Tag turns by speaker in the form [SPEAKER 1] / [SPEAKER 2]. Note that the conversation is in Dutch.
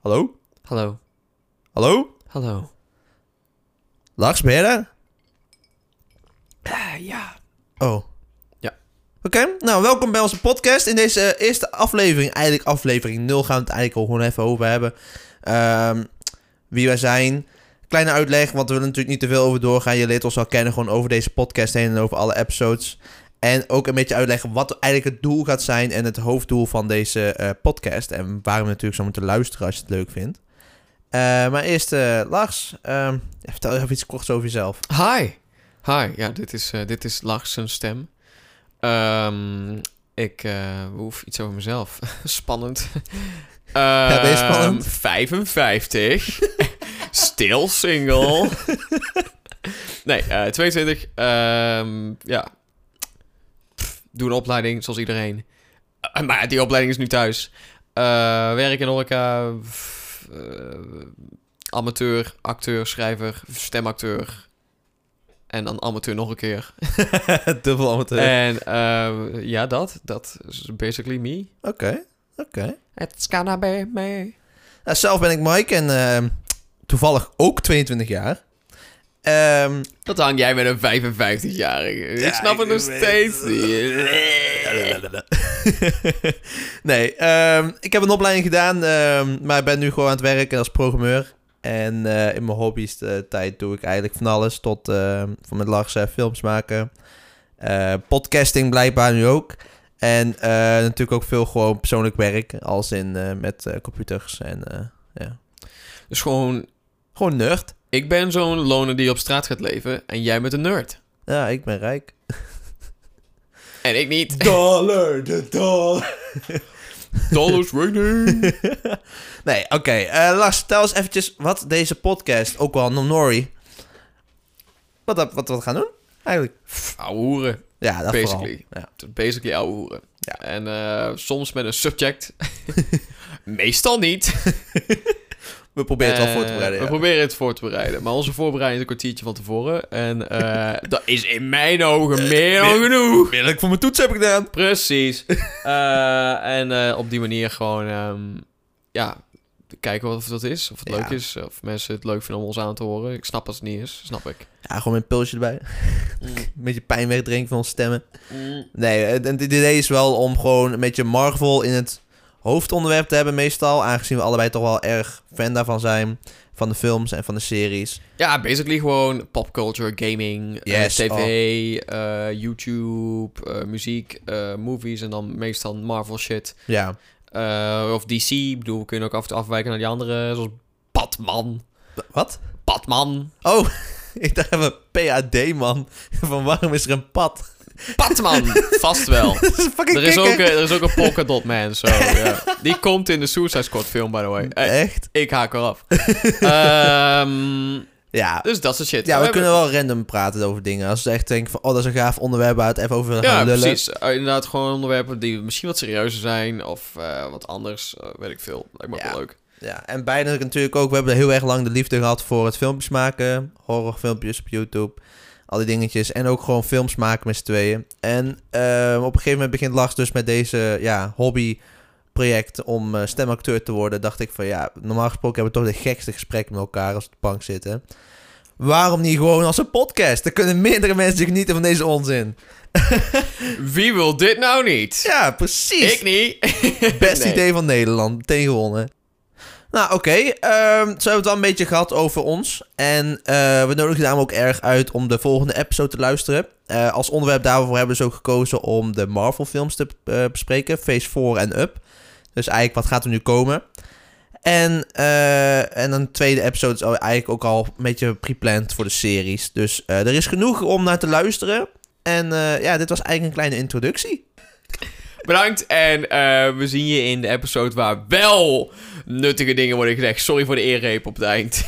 [SPEAKER 1] Hallo?
[SPEAKER 2] Hallo,
[SPEAKER 1] Hallo?
[SPEAKER 2] hallo.
[SPEAKER 1] Lars, ben jij daar?
[SPEAKER 2] Eh, ja.
[SPEAKER 1] Oh.
[SPEAKER 2] Ja.
[SPEAKER 1] Oké, nou welkom bij onze podcast. In deze eh, eerste aflevering, eigenlijk aflevering 0, gaan we het eigenlijk al gewoon even over hebben. Ehm, wie wij zijn. Kleine uitleg, want we willen natuurlijk niet te veel over doorgaan. Je leert ons al kennen gewoon over deze podcast heen en over alle episodes. En ook een beetje uitleggen wat eigenlijk het doel gaat zijn en het hoofddoel van deze eh, podcast. En waarom je natuurlijk zo moeten luisteren als je het leuk vindt. Eh, maar eerst, eh, Lars, ehm, vertel even iets korts over jezelf.
[SPEAKER 2] Hi. Hi, ja, dit is, eh, dit is Lars zijn stem. Ehm, ik eh, hoef iets over mezelf. spannend.
[SPEAKER 1] Ja, ben je
[SPEAKER 2] Ehm,
[SPEAKER 1] spannend?
[SPEAKER 2] 55. Stil single. nee, eh, 22. Ehm, ja. Pff, doe een opleiding, zoals iedereen. Eh, maar die opleiding is nu thuis. Eh, werk in horeca. f- eh, amateur, acteur, schrijver, stemacteur. En dan amateur nog een keer.
[SPEAKER 1] Dubbel amateur.
[SPEAKER 2] En ehm, ja, dat. Dat is basically me.
[SPEAKER 1] Oké, oké.
[SPEAKER 2] It's gonna be me.
[SPEAKER 1] Nou, zelf ben ik Mike en ehm, toevallig ook 22 jaar. Ehm,
[SPEAKER 2] Dat hang jij met een 55-jarige. ik
[SPEAKER 1] ja,
[SPEAKER 2] snap het nog
[SPEAKER 1] weet-
[SPEAKER 2] steeds niet.
[SPEAKER 1] nee, ehm, ik heb een opleiding gedaan, ehm, maar ben nu gewoon aan het werken als programmeur. En eh, in mijn hobby's eh, tijd doe ik eigenlijk van alles. Tot ehm, van met Lars eh, films maken. Eh, podcasting blijkbaar nu ook. En eh, natuurlijk ook veel gewoon persoonlijk werk. Als in eh, met eh, computers en eh, ja.
[SPEAKER 2] Dus gewoon,
[SPEAKER 1] Gewoon nerd.
[SPEAKER 2] ik ben zo'n loner die op straat gaat leven. En jij bent een nerd.
[SPEAKER 1] Ja, ik ben rijk.
[SPEAKER 2] En ik niet.
[SPEAKER 1] Dollar, de dollar.
[SPEAKER 2] Dollars raining.
[SPEAKER 1] nee, oké. Eh, Lars, vertel eens eventjes wat deze podcast, ook wel Nonori, wat, dat- wat, wat gaan doen eigenlijk.
[SPEAKER 2] Pff, Ouwe hoeren.
[SPEAKER 1] Ja, dat
[SPEAKER 2] Basically.
[SPEAKER 1] vooral.
[SPEAKER 2] Het is Basically ouwe hoeren.
[SPEAKER 1] Ja.
[SPEAKER 2] En eh, soms met een subject. Meestal niet.
[SPEAKER 1] Ja. We proberen het wel voor te
[SPEAKER 2] Eh,
[SPEAKER 1] bereiden.
[SPEAKER 2] We
[SPEAKER 1] ja.
[SPEAKER 2] proberen het voor te bereiden. Maar onze voorbereiding is een kwartiertje van tevoren. En eh, dat is in mijn
[SPEAKER 1] Eh,
[SPEAKER 2] ogen meer dan genoeg.
[SPEAKER 1] Wil ik voor mijn toets heb ik gedaan.
[SPEAKER 2] Precies. Eh, en eh, op die manier gewoon, ehm, ja, kijken wat of dat is. Of het
[SPEAKER 1] Ja.
[SPEAKER 2] leuk is. Of mensen het leuk vinden om ons aan te horen. Ik snap dat het niet is. Snap ik.
[SPEAKER 1] Ja, gewoon een pilsje erbij. Een beetje pijn wegdrinken van onze stemmen. Nee, het, het idee is wel om gewoon een beetje Marvel in het hoofdonderwerp te hebben meestal. Aangezien we allebei toch wel erg fan daarvan zijn. Van de films en van de series.
[SPEAKER 2] Ja, basically gewoon popculture, gaming, eh,
[SPEAKER 1] Yes, oh.
[SPEAKER 2] tv, eh, YouTube, eh, muziek, eh, movies en dan meestal Marvel shit.
[SPEAKER 1] Ja.
[SPEAKER 2] Eh, of DC, Ik bedoel, we kunnen ook af en toe afwijken naar die andere, zoals Batman.
[SPEAKER 1] Wat?
[SPEAKER 2] Batman.
[SPEAKER 1] Oh, ik dacht even PAD, man. Van waarom is er een pad?
[SPEAKER 2] Batman! Vast wel.
[SPEAKER 1] Dat is een fucking
[SPEAKER 2] Er is, ook,
[SPEAKER 1] kikker.
[SPEAKER 2] een- er is ook een polka dot man, zo. ja. Die komt in de Suicide Squad film, by the way. Eh,
[SPEAKER 1] Echt?
[SPEAKER 2] ik haak eraf. Ehm
[SPEAKER 1] Ja.
[SPEAKER 2] dus dat soort shit.
[SPEAKER 1] Ja, we,
[SPEAKER 2] hebben-
[SPEAKER 1] kunnen wel random praten over dingen. Als ze echt denken van, oh, dat is een gaaf onderwerp waar we het even over willen
[SPEAKER 2] Ja,
[SPEAKER 1] gaan lullen.
[SPEAKER 2] precies. Eh, inderdaad, gewoon onderwerpen die misschien wat serieuzer zijn of eh, wat anders. eh, weet ik veel. Lijkt me ook
[SPEAKER 1] Ja.
[SPEAKER 2] wel leuk.
[SPEAKER 1] Ja, en bijna natuurlijk ook, we hebben heel erg lang de liefde gehad voor het filmpjes maken. Horrorfilmpjes op YouTube. Al die dingetjes. En ook gewoon films maken met z'n tweeën. En eh, op een gegeven moment begint Lars dus met deze ja, hobbyproject om eh, stemacteur te worden. Dacht ik van ja, normaal gesproken hebben we toch de gekste gesprekken met elkaar als we op de bank zitten. Waarom niet gewoon als een podcast? Dan kunnen meerdere mensen genieten van deze onzin.
[SPEAKER 2] Wie wil dit nou niet?
[SPEAKER 1] Ja, precies.
[SPEAKER 2] Ik niet.
[SPEAKER 1] Best
[SPEAKER 2] Nee.
[SPEAKER 1] idee van Nederland. Meteen gewonnen. Nou, oké. ehm, zo hebben we het wel een beetje gehad over ons. En eh, we nodigen daarom ook erg uit om de volgende episode te luisteren. Eh, als onderwerp daarvoor hebben we dus ook gekozen om de Marvel-films te eh, bespreken. Phase 4 en Up. Dus eigenlijk, wat gaat er nu komen? En, eh en een tweede episode is al- eigenlijk ook al een beetje pre-planned voor de series. Dus eh, er is genoeg om naar te luisteren. En eh, ja, dit was eigenlijk een kleine introductie.
[SPEAKER 2] Bedankt en eh, we zien je in de episode waar wel nuttige dingen worden gezegd. Sorry voor de eerreep op het eind.